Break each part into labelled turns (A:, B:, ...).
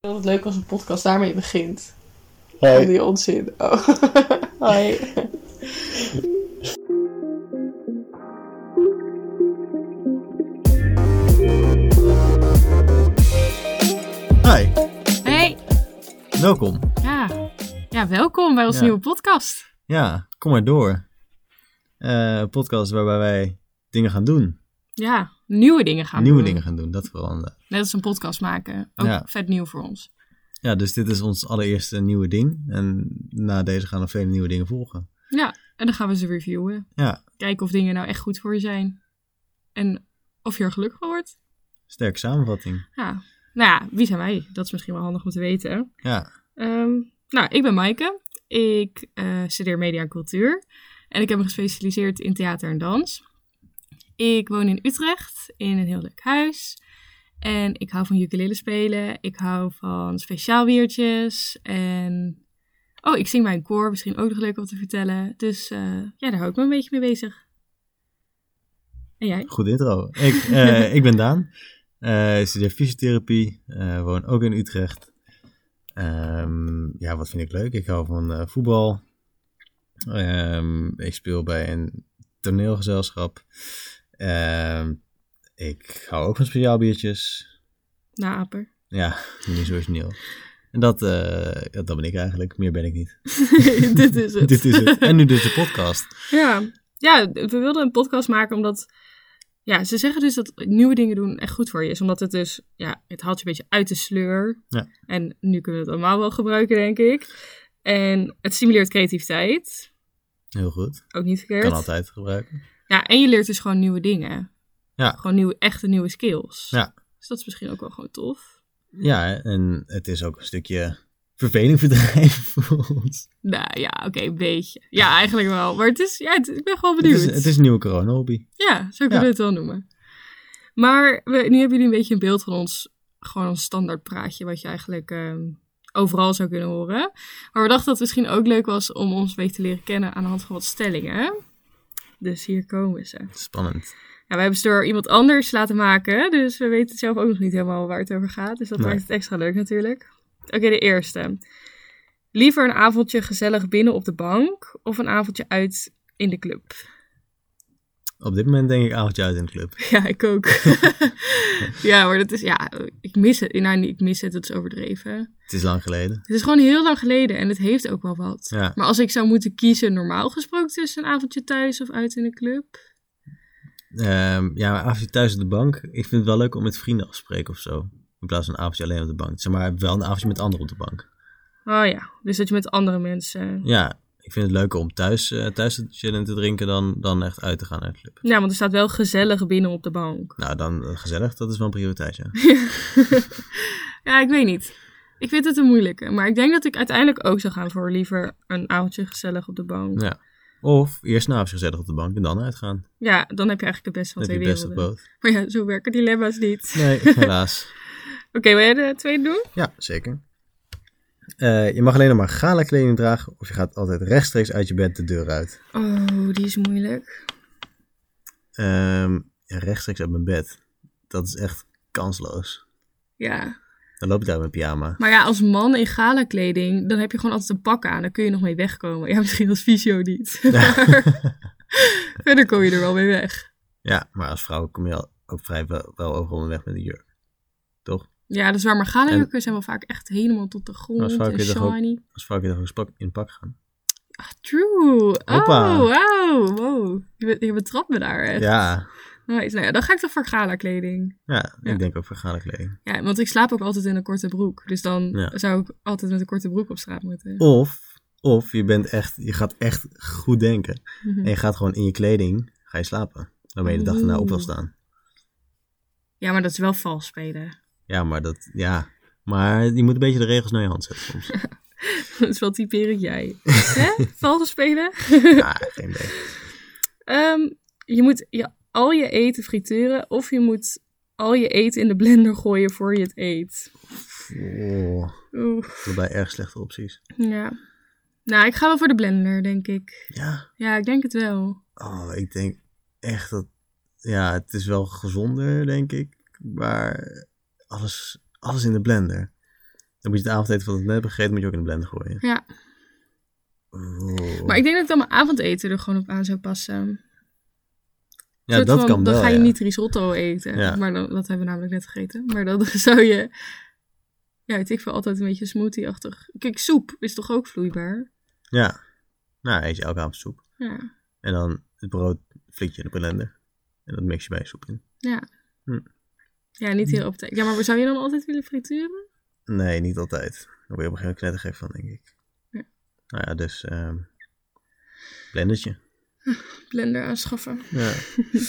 A: Dat het leuk als een podcast daarmee begint. Van
B: Hoi.
A: die onzin. Oh. Hoi.
B: Hi,
C: Hey,
B: welkom.
C: ja. ja, welkom bij onze
B: Ja.
C: nieuwe podcast.
B: Ja, kom maar door. Eh, Een podcast waarbij wij dingen gaan doen.
C: Ja, nieuwe dingen gaan
B: Nieuwe
C: doen.
B: dingen gaan doen, dat vooral. inderdaad.
C: Net als een podcast maken. Ook
B: Ja.
C: vet nieuw voor ons.
B: Ja, dus dit is ons allereerste nieuwe ding. En na deze gaan er vele nieuwe dingen volgen.
C: Ja, en dan gaan we ze reviewen.
B: Ja,
C: Kijken of dingen nou echt goed voor je zijn. En of je er gelukkig van wordt.
B: sterke samenvatting.
C: Ja. Nou ja, wie zijn wij? Dat is misschien wel handig om te weten.
B: Ja,
C: Ehm, nou, ik ben Maaike. Ik eh, studeer media en cultuur. En ik heb me gespecialiseerd in theater en dans. Ik woon in Utrecht in een heel leuk huis. En ik hou van ukulele spelen. Ik hou van speciaal biertjes. En. Oh, ik zing bij een koor. Misschien ook nog leuk om te vertellen. Dus eh, ja, daar hou ik me een beetje mee bezig. En jij?
B: goed intro. Ik, eh, ik ben Daan. Eh, ik studeer fysiotherapie. eh, woon ook in Utrecht. Ehm, ja, wat vind ik leuk? Ik hou van eh, voetbal. Ehm, ik speel bij een toneelgezelschap. Ehm, ik hou ook van speciaal biertjes.
C: Na Nou, aper.
B: Ja, niet zo origineel. En dat, eh, ja, dat ben ik eigenlijk. Meer ben ik niet.
C: Dit is het.
B: Dit is het. En nu dus de podcast.
C: Ja. ja, we wilden een podcast maken omdat... Ja, ze zeggen dus dat nieuwe dingen doen echt goed voor je is. Omdat het dus... Ja, het haalt je een beetje uit de sleur.
B: Ja.
C: En nu kunnen we het allemaal wel gebruiken, denk ik. En het stimuleert creativiteit.
B: Heel goed.
C: Ook niet verkeerd.
B: Kan altijd gebruiken.
C: Ja, en je leert dus gewoon nieuwe dingen.
B: Ja.
C: Gewoon nieuwe, echte nieuwe skills.
B: Ja.
C: Dus dat is misschien ook wel gewoon tof.
B: Ja, en het is ook een stukje verveling verdrijven voor ons.
C: Nou ja, oké, een beetje. Ja, eigenlijk wel. Maar het is... Ja, het- ik ben gewoon
B: Het
C: benieuwd.
B: is, het is een nieuwe corona-hobby.
C: Ja, zo kunnen
B: Ja.
C: we het wel noemen. Maar we, nu hebben jullie een beetje een beeld van ons, gewoon ons standaard praatje, wat je eigenlijk ehm, overal zou kunnen horen. Maar we dachten dat het misschien ook leuk was om ons een beetje te leren kennen aan de hand van wat stellingen. Dus hier komen ze.
B: Spannend.
C: Ja, we hebben ze door iemand anders laten maken, dus we weten zelf ook nog niet helemaal waar het over gaat. Dus dat
B: Nee.
C: maakt het extra leuk natuurlijk. Oké, de eerste. Liever een avondje gezellig binnen op de bank of een avondje uit in de club?
B: Op dit moment denk ik avondje uit in de club.
C: Ja, ik ook. ja, maar dat is, ja, ik mis het. Nou, niet- ik mis het, dat is overdreven.
B: Het is lang geleden.
C: Het is gewoon heel lang geleden en het heeft ook wel wat.
B: Ja.
C: Maar als ik zou moeten kiezen, normaal gesproken tussen een avondje thuis of uit in de club.
B: Ehm, ja, maar avondje thuis op de bank. Ik vind het wel leuk om met vrienden af te spreken of zo. In plaats van een avondje alleen op de bank. Zeg maar wel een avondje met anderen op de bank.
C: Oh ja, dus dat je met andere mensen.
B: Ja, ik vind het leuker om thuis, eh, thuis te chillen en te drinken dan, dan echt uit te gaan naar de club.
C: Ja, want er staat wel gezellig binnen op de bank.
B: Nou, dan eh, gezellig, dat is wel een prioriteit, ja.
C: ja, ik weet niet. Ik vind het een moeilijke. Maar ik denk dat ik uiteindelijk ook zou gaan voor liever een avondje gezellig op de bank. Ja,
B: ja. Of eerst een avondje gezellig op de bank en dan uitgaan.
C: dan heb je eigenlijk het beste van
B: Dan
C: twee
B: heb je best op
C: werelden.
B: boot.
C: Maar ja, zo werken dilemma's niet.
B: Nee, helaas.
C: Oké, wil jij de tweede doen?
B: Ja, zeker. Eh, je mag alleen nog maar gala kleding dragen of je gaat altijd rechtstreeks uit je bed de deur uit.
C: Oh, die is moeilijk.
B: Ehm, ja, rechtstreeks uit mijn bed. Dat is echt kansloos.
C: Ja.
B: Dan loop ik daar met pyjama.
C: Maar ja, als man in gala kleding, dan heb je gewoon altijd een pak aan. Dan kun je nog mee wegkomen. Ja, misschien als fysio niet. Maar verder kom je er wel mee weg.
B: Ja, maar als vrouw kom je al- ook vrij wel, wel overal weg met een jurk. Toch?
C: Ja, dat is waar. Maar gala
B: En-
C: jurken zijn wel vaak echt helemaal tot de grond
B: Als vrouw
C: en
B: kun je toch ook-
C: shiny.
B: Als vrouw kun je toch ook spak- in pak gaan.
C: Ah, true. Oh,
B: Hoppa.
C: wow. wow. Je, be- je betrapt me daar echt.
B: Ja,
C: Nice. Nou ja, dan ga ik toch voor gala kleding.
B: ja,
C: Ja.
B: ik denk ook voor gala kleding.
C: Ja, want ik slaap ook altijd in een korte broek. Dus dan
B: Ja.
C: zou ik altijd met een korte broek op straat moeten.
B: Of, of je, bent echt, je gaat echt goed denken.
C: Mhm.
B: En je gaat gewoon in je kleding ga je slapen. Waarmee je de dag daarna op wil
C: Oeh.
B: staan.
C: Ja, maar dat is wel vals spelen.
B: Ja, maar dat, ja. Maar je moet een beetje de regels naar je hand zetten soms.
C: Dat is wel typerend jij. Hè? Valse spelen.
B: ja, Ah, geen idee.
C: Ehm, je moet je, al je eten frituren of je moet al je eten in de blender gooien voor je het eet.
B: Oh,
C: Oeh,
B: allebei erg slechte opties.
C: ja. Nou, ik ga wel voor de blender, denk ik.
B: Ja,
C: Ja, ik denk het wel.
B: oh, ik denk echt dat, ja, het is wel gezonder, denk ik. Maar alles, alles in de blender. Dan moet je het avondeten van het net hebt gegeten, moet je ook in de blender gooien.
C: Ja.
B: Oeh.
C: Maar ik denk dat dan mijn avondeten er gewoon op aan zou passen.
B: ja,
C: Soort
B: dat
C: van,
B: kan
C: Dan
B: wel,
C: ga je
B: ja.
C: niet risotto eten.
B: Ja.
C: Maar dan, dat hebben we namelijk net gegeten. Maar dan zou je... Ja, weet ik veel, altijd een beetje smoothie-achtig. Kijk, soep is toch ook vloeibaar?
B: Ja. Nou, eet je elke avond soep.
C: Ja.
B: En dan het brood flik je in de blender. En dat mix je bij je soep in.
C: Ja,
B: Hm.
C: niet heel op tijd. Ja, maar zou je dan altijd willen frituren?
B: Nee, niet altijd. Daar word je op een gegeven moment knettergek van, denk ik.
C: Ja.
B: Nou ja, dus... ehm blendertje.
C: Blender aanschaffen.
B: Ja.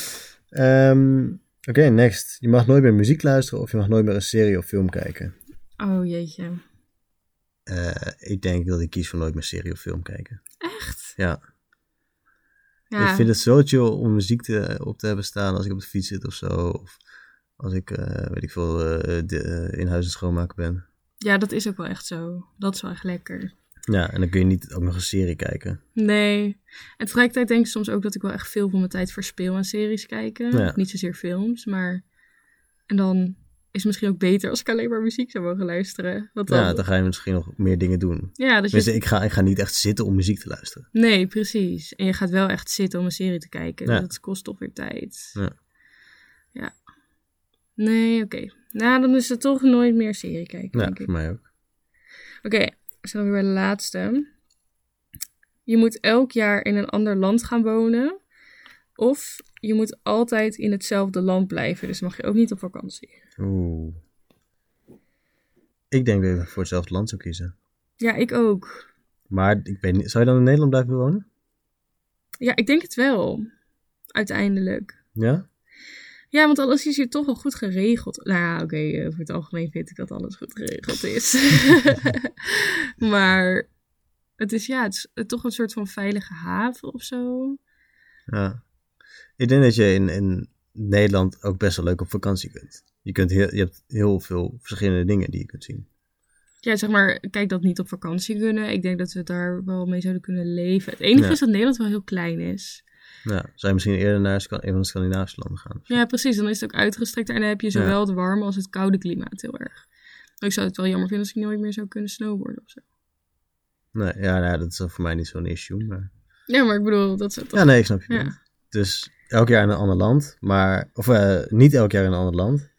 B: Ehm, Oké, next. Je mag nooit meer muziek luisteren of je mag nooit meer een serie of film kijken.
C: Oh, jeetje.
B: Eh, ik denk dat ik kies voor nooit meer serie of film kijken.
C: Echt?
B: Ja.
C: Ja.
B: Ik vind het zo chill om muziek te, op te hebben staan als ik op de fiets zit of zo. Of als ik, eh, weet ik veel, eh, de, eh, in huis aan het schoonmaken ben.
C: ja, dat is ook wel echt zo. Dat is wel echt lekker.
B: Ja, en dan kun je niet ook nog een serie kijken.
C: Nee. En tegelijkertijd denk ik soms ook dat ik wel echt veel van mijn tijd verspil aan series kijken.
B: Ja.
C: Niet zozeer films, maar... En dan is het misschien ook beter als ik alleen maar muziek zou mogen luisteren. Want dan...
B: Ja,
C: Ja,
B: dan ga je misschien nog meer dingen doen.
C: dat
B: Tenminste,
C: je...
B: ik ga, ik ga niet echt zitten om muziek te luisteren.
C: Nee, precies. En je gaat wel echt zitten om een serie te kijken.
B: Ja.
C: Dat kost toch weer tijd.
B: Ja.
C: Ja. Nee, oké. Nou, dan is het toch nooit meer serie kijken,
B: Ja,
C: denk ik.
B: voor mij ook.
C: Oké, we zijn weer bij de laatste. Je moet elk jaar in een ander land gaan wonen. Of je moet altijd in hetzelfde land blijven. Dus dan mag je ook niet op vakantie.
B: Oeh. Ik denk dat ik voor hetzelfde land zou kiezen.
C: Ja, ik ook.
B: Maar ik weet niet, zou je dan in Nederland blijven wonen?
C: Ja, ik denk het wel. Uiteindelijk.
B: Ja?
C: Ja, want alles is hier toch wel goed geregeld. Nou ja, oké, eh, over het algemeen vind ik dat alles goed geregeld is. maar het is ja, het is toch een soort van veilige haven of zo.
B: Ja. Ik denk dat je in, in Nederland ook best wel leuk op vakantie kunt. Je, kunt heel, je hebt heel veel verschillende dingen die je kunt zien.
C: Ja, zeg maar, kijk dat niet op vakantie kunnen. Ik denk dat we daar wel mee zouden kunnen leven. Het enige
B: Ja.
C: is dat Nederland wel heel klein is.
B: Ja, zou je misschien eerder naar Sca- een van de Scandinavische landen gaan?
C: Ja, precies. Dan is het ook uitgestrekt en dan heb je zowel het warme als het koude klimaat heel erg. Maar Ik zou het wel jammer vinden als ik nooit meer zou kunnen snowboarden of zo.
B: Nee, ja, nou ja, dat is dan voor mij niet zo'n issue. Maar...
C: Ja, maar ik bedoel, dat zou toch...
B: Ja, nee, ik snap je.
C: Ja.
B: punt. Dus elk jaar in een ander land, maar, of eh, niet elk jaar in een ander land,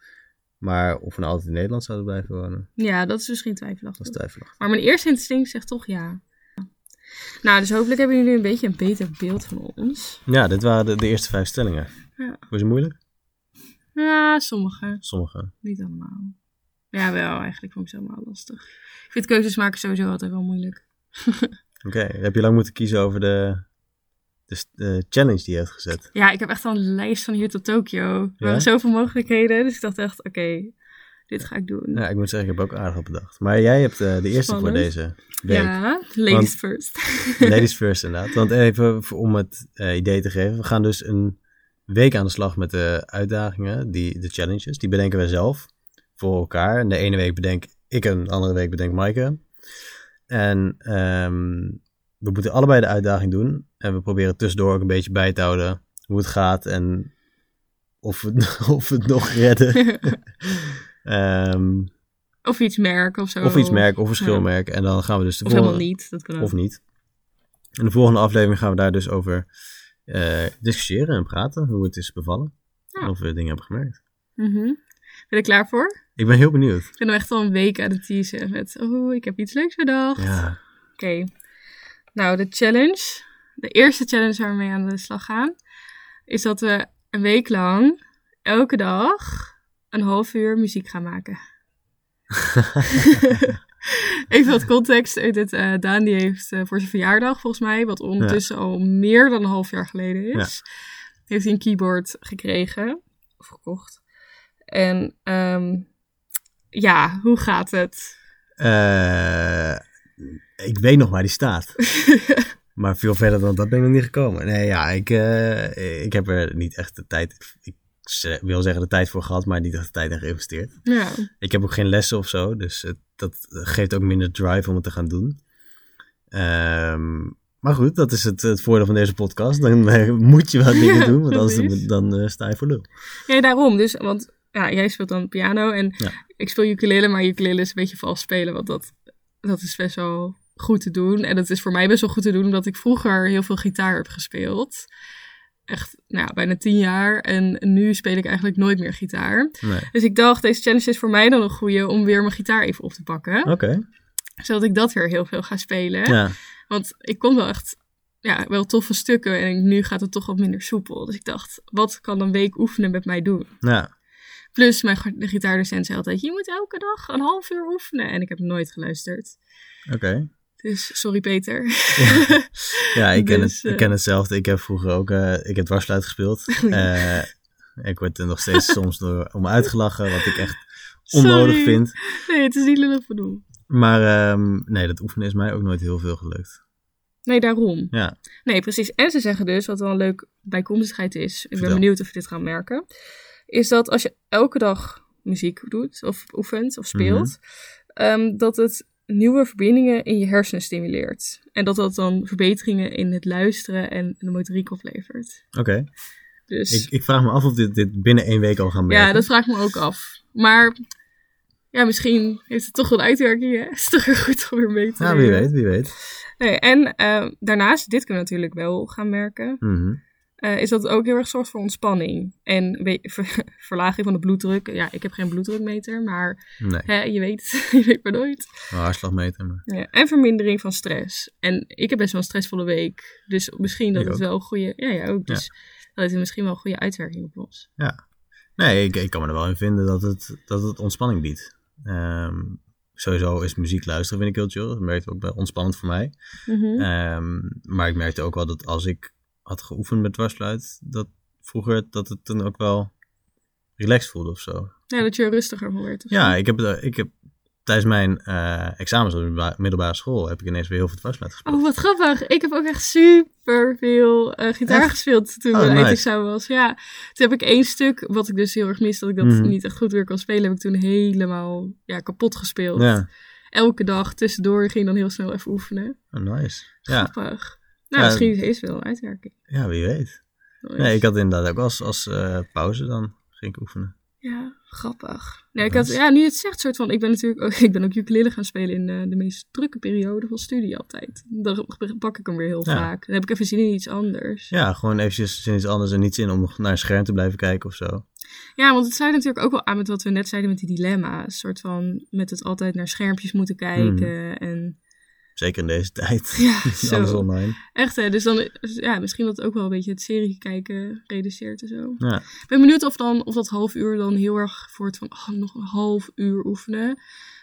B: maar of we nou altijd in Nederland zouden blijven wonen,
C: Ja, dat is misschien twijfelachtig.
B: dat is twijfelachtig.
C: Maar mijn eerste instinct zegt toch ja. Nou, dus hopelijk hebben jullie een beetje een beter beeld van ons.
B: Ja, dit waren de, de eerste vijf stellingen.
C: Ja.
B: Was het moeilijk?
C: Ja, sommige.
B: Sommige.
C: Niet allemaal. Ja, wel. Eigenlijk vond ik ze allemaal lastig. Ik vind keuzes maken sowieso altijd wel moeilijk.
B: Oké, heb je lang moeten kiezen over de, de, s- de challenge die je hebt gezet?
C: Ja, ik heb echt al een lijst van hier tot Tokio. Er
B: Ja?
C: waren zoveel mogelijkheden, dus ik dacht echt, oké, dit ga ik doen.
B: Ja, ik moet zeggen, ik heb ook aardig op bedacht. Maar jij hebt eh, de eerste
C: Spannend.
B: voor deze week.
C: Ja, ladies
B: Want-
C: first.
B: Ladies first inderdaad. Want even voor- om het eh, idee te geven. We gaan dus een week aan de slag met de uitdagingen, die, de challenges. Die bedenken wij zelf voor elkaar. En de ene week bedenk ik en de andere week bedenk Maaike. En ehm, we moeten allebei de uitdaging doen. En we proberen tussendoor ook een beetje bij te houden hoe het gaat en of we, het- of we het nog redden. Ehm,
C: of iets merk of zo.
B: of iets merk of een
C: Ja.
B: schilmerk. En dan gaan we dus de
C: Of helemaal
B: volgende-
C: niet, dat kan ook.
B: of niet. In de volgende aflevering gaan we daar dus over eh, discussiëren en praten. Hoe het is bevallen.
C: Ja.
B: En of we dingen hebben gemerkt.
C: Mhm. Ben je er klaar voor?
B: Ik ben heel benieuwd.
C: Ik ben er echt al een week aan het teasen met, oh, ik heb iets leuks bedacht.
B: Ja.
C: Oké, nou, de challenge, de eerste challenge waar we mee aan de slag gaan, is dat we een week lang, elke dag, een half uur muziek gaan maken. Even wat context. Eh, Dit, eh, Daan die heeft eh, voor zijn verjaardag, volgens mij, wat ondertussen al meer dan een half jaar geleden is, heeft hij een keyboard gekregen of gekocht. En ehm, ja, hoe gaat het?
B: Eh, ik weet nog waar die staat. maar veel verder dan dat ben ik nog niet gekomen. Nee, ja, ik, eh, ik heb er niet echt de tijd... Ik ze- wil zeggen de tijd voor gehad, maar niet echt de tijd in geïnvesteerd.
C: ja.
B: Ik heb ook geen lessen of zo, dus het- dat geeft ook minder drive om het te gaan doen. Ehm, maar goed, dat is het, het voordeel van deze podcast. Dan eh, moet je wel dingen
C: Ja,
B: doen, want
C: precies.
B: anders dan, dan eh, sta je voor lul.
C: ja, daarom. Dus, want ja, jij speelt dan piano en
B: Ja.
C: ik speel ukulele, maar ukulele is een beetje vals spelen, want dat, dat is best wel goed te doen. En dat is voor mij best wel goed te doen, omdat ik vroeger heel veel gitaar heb gespeeld. Echt, nou ja, bijna tien jaar. En nu speel ik eigenlijk nooit meer gitaar.
B: Nee.
C: Dus ik dacht, deze challenge is voor mij dan een goede om weer mijn gitaar even op te pakken.
B: Oké.
C: Zodat ik dat weer heel veel ga spelen.
B: Oh. Ja.
C: Want ik kon wel echt ja, wel toffe stukken en nu gaat het toch wat minder soepel. Dus ik dacht, wat kan een week oefenen met mij doen?
B: Ja.
C: Plus mijn g- de gitaardocent zei altijd, je moet elke dag een half uur oefenen. En ik heb nooit geluisterd.
B: Oké.
C: Dus sorry Peter.
B: Ja, ik ken,
C: Dus,
B: het, ik
C: eh,
B: ken hetzelfde. Ik heb vroeger ook, eh, ik heb dwarsfluit gespeeld. Eh, ik word er nog steeds soms door, om uitgelachen, wat ik echt onnodig
C: Sorry.
B: vind.
C: Nee, het is niet lullig bedoeld.
B: Maar ehm, nee, dat oefenen is mij ook nooit heel veel gelukt.
C: Nee, daarom.
B: Ja,
C: Nee, precies. En ze zeggen dus, wat wel een leuk bijkomstigheid is. Ik ben
B: Vertel.
C: benieuwd of je dit gaat merken. Is dat als je elke dag muziek doet, of oefent, of speelt.
B: Mhm.
C: ehm, dat het nieuwe verbindingen in je hersenen stimuleert. En dat dat dan verbeteringen in het luisteren en de motoriek oplevert.
B: oké.
C: Dus
B: Ik, ik vraag me af of dit, dit binnen één week al gaan werken.
C: ja, dat vraag ik me ook af. Maar ja, misschien heeft het toch wel uitwerking, hè? Is toch weer goed om weer mee te
B: Ja, wie
C: nemen.
B: weet, wie weet.
C: Nee, en eh, daarnaast, dit kunnen we natuurlijk wel gaan merken.
B: Mhm.
C: eh, is dat het ook heel erg zorgt voor ontspanning en een be- ver- verlaging van de bloeddruk. Ja, ik heb geen bloeddrukmeter, maar
B: Nee,
C: hè, je weet, je weet maar nooit.
B: wel hartslagmeter. Maar...
C: Ja, en vermindering van stress. En ik heb best wel een stressvolle week, dus misschien dat
B: Ik
C: het
B: ook.
C: wel een goede... Ja, ja, ook.
B: Ja.
C: Dus dat heeft misschien wel een goede uitwerking op ons.
B: Nee, ik, ik kan me er wel in vinden dat het, dat het ontspanning biedt. Ehm, sowieso is muziek luisteren vind ik heel chill. Dat merkte ook bij ontspannend voor mij. Ehm, maar ik merkte ook wel dat als ik had geoefend met dwarsfluit, dat vroeger dat het dan ook wel relaxed voelde of zo.
C: Ja, dat je er rustiger van werd. of
B: Ja, ik heb, eh, ik heb tijdens mijn eh, examens op de middelba- middelbare school heb ik ineens weer heel veel dwarsfluit gespeeld.
C: Oh, wat grappig. Ik heb ook echt super veel gitaar
B: Echt?
C: gespeeld toen
B: Oh,
C: mijn
B: nice.
C: eindexamen was. Ja, toen heb ik één stuk, wat ik dus heel erg mis, dat ik dat
B: Mhm.
C: niet echt goed weer kon spelen, heb ik toen helemaal ja, kapot gespeeld.
B: Ja,
C: Elke dag tussendoor ging dan heel snel even oefenen.
B: oh, nice. Ja,
C: Grappig. Nou,
B: Ja.
C: misschien is het wel een uitwerking.
B: ja, wie weet.
C: Wel
B: Nee,
C: eens.
B: ik had inderdaad ook als, als eh, pauze dan ging ik oefenen.
C: Ja, grappig. Nee, ik had,
B: Nice.
C: ja, nu je het zegt, soort van, ik ben natuurlijk ook, ik ben ook ukulele gaan spelen in eh, de meest drukke periode van studie altijd. Dan pak ik hem weer heel
B: Ja.
C: vaak. Dan heb ik even zin in iets anders.
B: Ja, gewoon eventjes zin iets anders en niet zin om nog naar een scherm te blijven kijken of zo.
C: Ja, want het sluit natuurlijk ook wel aan met wat we net zeiden met die dilemma's. Een soort van met het altijd naar schermpjes moeten kijken.
B: Hmm.
C: En
B: Zeker in deze tijd.
C: ja,
B: Alles
C: zo.
B: online.
C: Echt hè, dus dan ja, misschien dat ook wel een beetje het serie kijken reduceert en zo.
B: Ja.
C: Ik ben benieuwd of, dan, of dat half uur dan heel erg wordt van oh, nog een half uur oefenen.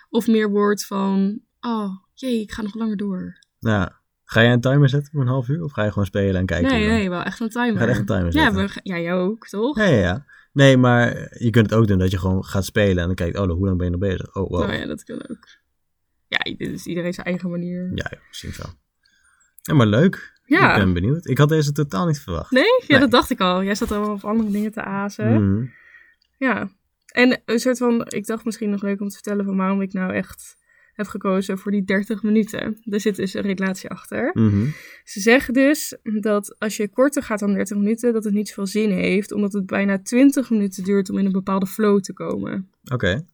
C: Of meer wordt van oh jee, ik ga nog langer door.
B: Nou, ga jij een timer zetten voor een half uur of ga je gewoon spelen en kijken?
C: nee,
B: dan?
C: nee, wel echt een
B: Je
C: timer.
B: gaat echt een timer
C: ja,
B: zetten.
C: we, ja, jij ook, toch?
B: Ja, ja, ja. Nee, maar je kunt het ook doen dat je gewoon gaat spelen en dan kijkt, oh, hoe lang ben je nog bezig? Oh, wow.
C: Nou ja, dat kan ook. Ja, dit is iedereen zijn eigen manier.
B: Ja, ja, misschien wel. Ja, maar leuk.
C: Ja.
B: Ik eh, ben benieuwd. Ik had deze totaal niet verwacht.
C: Nee? Ja,
B: Nee.
C: dat dacht ik al. Jij zat allemaal op andere dingen te azen.
B: Mhm.
C: Ja. En een soort van, ik dacht misschien nog leuk om te vertellen van waarom ik nou echt heb gekozen voor die 30 minuten. Daar zit dus een relatie achter.
B: Mhm.
C: Ze zeggen dus dat als je korter gaat dan 30 minuten, dat het niet zoveel zin heeft, omdat het bijna 20 minuten duurt om in een bepaalde flow te komen.
B: Oké.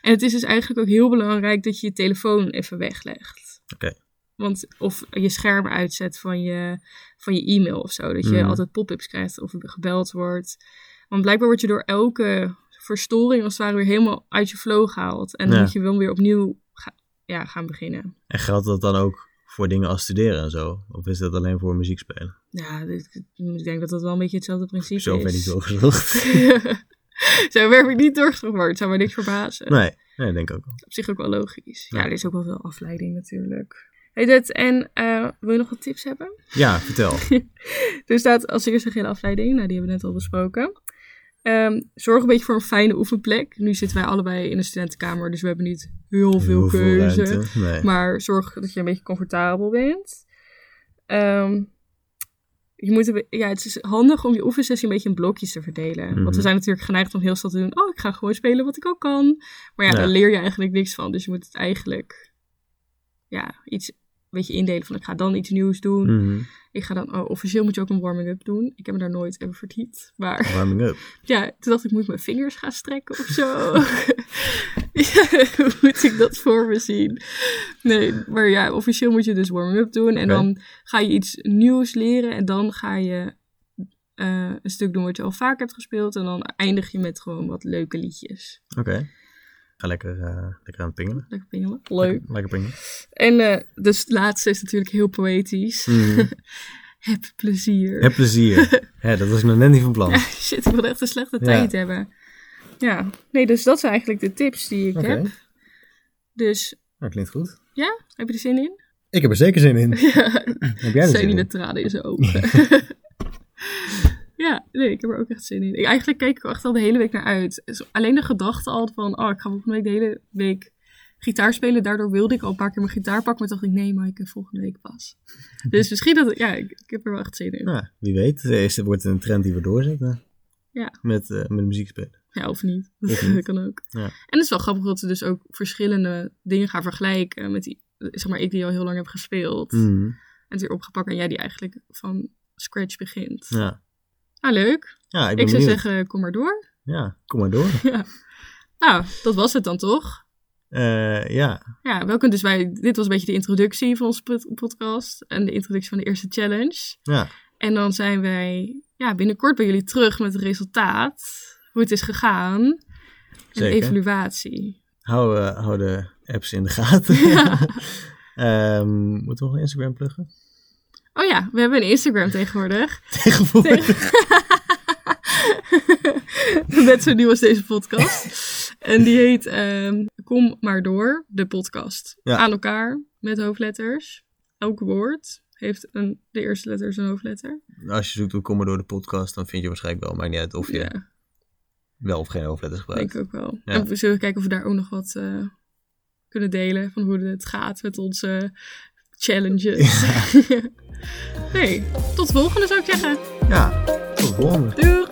C: En het is dus eigenlijk ook heel belangrijk dat je je telefoon even weglegt.
B: Oké.
C: Want, of je scherm uitzet van je, van je e-mail of zo. Dat je
B: Mhm.
C: altijd pop-ups krijgt of gebeld wordt. Want blijkbaar word je door elke verstoring als het ware weer helemaal uit je flow gehaald. En dan
B: Ja.
C: moet je wel weer opnieuw ga- ja, gaan beginnen.
B: En geldt dat dan ook voor dingen als studeren en zo? Of is dat alleen voor muziek spelen?
C: Ja, dit- ik denk dat dat wel een beetje hetzelfde principe
B: Zo
C: is.
B: ben ik zo gezocht.
C: zo werk ik niet doorgetrokken, maar het zou mij niks verbazen.
B: Nee, nee, denk ik ook wel.
C: Op zich ook wel logisch. Ja,
B: Ja.
C: er is ook wel veel afleiding natuurlijk. Hey, dat, en eh, wil je nog wat tips hebben?
B: Ja, vertel.
C: Er staat als eerste geen afleiding. Nou, die hebben we net al besproken. Ehm, zorg een beetje voor een fijne oefenplek. Nu zitten wij allebei in een studentenkamer, dus we hebben niet heel veel
B: Hoeveel
C: keuze.
B: ruimte? Nee.
C: Maar zorg dat je een beetje comfortabel bent. Ehm, je moet een be- ja, het is handig om je oefensessie een beetje in blokjes te verdelen. Want
B: Mhm.
C: we zijn natuurlijk geneigd om heel snel te doen. Oh, ik ga gewoon spelen wat ik ook kan. Maar ja,
B: Ja.
C: daar leer je eigenlijk niks van. Dus je moet het eigenlijk ja, iets beetje indelen van ik ga dan iets nieuws doen.
B: Mhm.
C: Ik ga dan, oh, officieel moet je ook een warming-up doen. Ik heb me daar nooit even verdiept. Maar
B: Warming up.
C: ja, toen dacht ik, moet ik mijn vingers gaan strekken of zo? Ja, hoe moet ik dat voor me zien? Nee, maar ja, officieel moet je dus warming-up doen. En
B: Oké.
C: dan ga je iets nieuws leren. En dan ga je eh, een stuk doen wat je al vaak hebt gespeeld. En dan eindig je met gewoon wat leuke liedjes.
B: Oké. Ga lekker, eh, lekker aan het pingelen.
C: Lekker pingelen. Leuk.
B: Lekker pingelen.
C: En eh, dus het laatste is natuurlijk heel poëtisch.
B: Mhm.
C: Heb plezier.
B: Heb plezier. Hè, dat was ik nog net niet van plan.
C: Shit, ik wilde echt een slechte
B: Ja.
C: tijd hebben. Ja, nee, dus dat zijn eigenlijk de tips die ik
B: Oké,
C: heb. Dus
B: dat klinkt goed.
C: heb je er zin in?
B: Ik heb er zeker zin in.
C: Ja,
B: Heb jij er
C: zijn
B: zin
C: niet
B: in?
C: met tranen in zijn ogen. ja, nee, ik heb er ook echt zin in. Ik, eigenlijk keek ik er echt al de hele week naar uit. Dus alleen de gedachte al van, oh, ik ga volgende week de hele week gitaar spelen. Daardoor wilde ik al een paar keer mijn gitaar pakken, maar dacht ik, nee, maar ik heb volgende week pas. Dus misschien dat, ja, ik, ik heb er wel echt zin in.
B: Nou, wie weet, eh, is, wordt het een trend die we doorzetten.
C: Ja.
B: Met, eh, met muziek spelen.
C: Ja, of niet.
B: Of niet.
C: Dat kan ook.
B: Ja.
C: En het is wel grappig dat ze dus ook verschillende dingen gaan vergelijken met die, zeg maar, ik die al heel lang heb gespeeld. En
B: Mhm.
C: het weer opgepakt en jij die eigenlijk van scratch begint.
B: Ja.
C: Ah, leuk.
B: ja, ik
C: Ik,
B: ben
C: zou
B: benieuwd.
C: zeggen, kom maar door.
B: Ja, kom maar door.
C: Ja. Nou, dat was het dan toch?
B: Eh, ja,
C: Ja, welkom dus bij, dit was een beetje de introductie van onze pod- podcast en de introductie van de eerste challenge.
B: ja,
C: En dan zijn wij ja, binnenkort bij jullie terug met het resultaat, hoe het is gegaan en de
B: Zeker.
C: evaluatie.
B: hou, eh, hou de apps in de gaten.
C: Ja.
B: Ehm, moeten we nog een Instagram pluggen?
C: Oh ja, we hebben een Instagram tegenwoordig.
B: Tegenwoordig.
C: Net zo nieuw als deze podcast. En die heet ehm, Kom maar door, de podcast.
B: Ja.
C: Aan elkaar, met hoofdletters. Elk woord heeft een, de eerste letter is een hoofdletter.
B: Als je zoekt op Kom maar door de podcast, dan vind je waarschijnlijk wel. Maakt niet uit of je
C: Ja,
B: wel of geen hoofdletters gebruikt.
C: denk ik ook wel.
B: Ja.
C: En we zullen kijken of we daar ook nog wat eh, kunnen delen. Van hoe het gaat met onze challenges. nee, tot de volgende zou ik zeggen.
B: Ja, tot de volgende.
C: Doeg!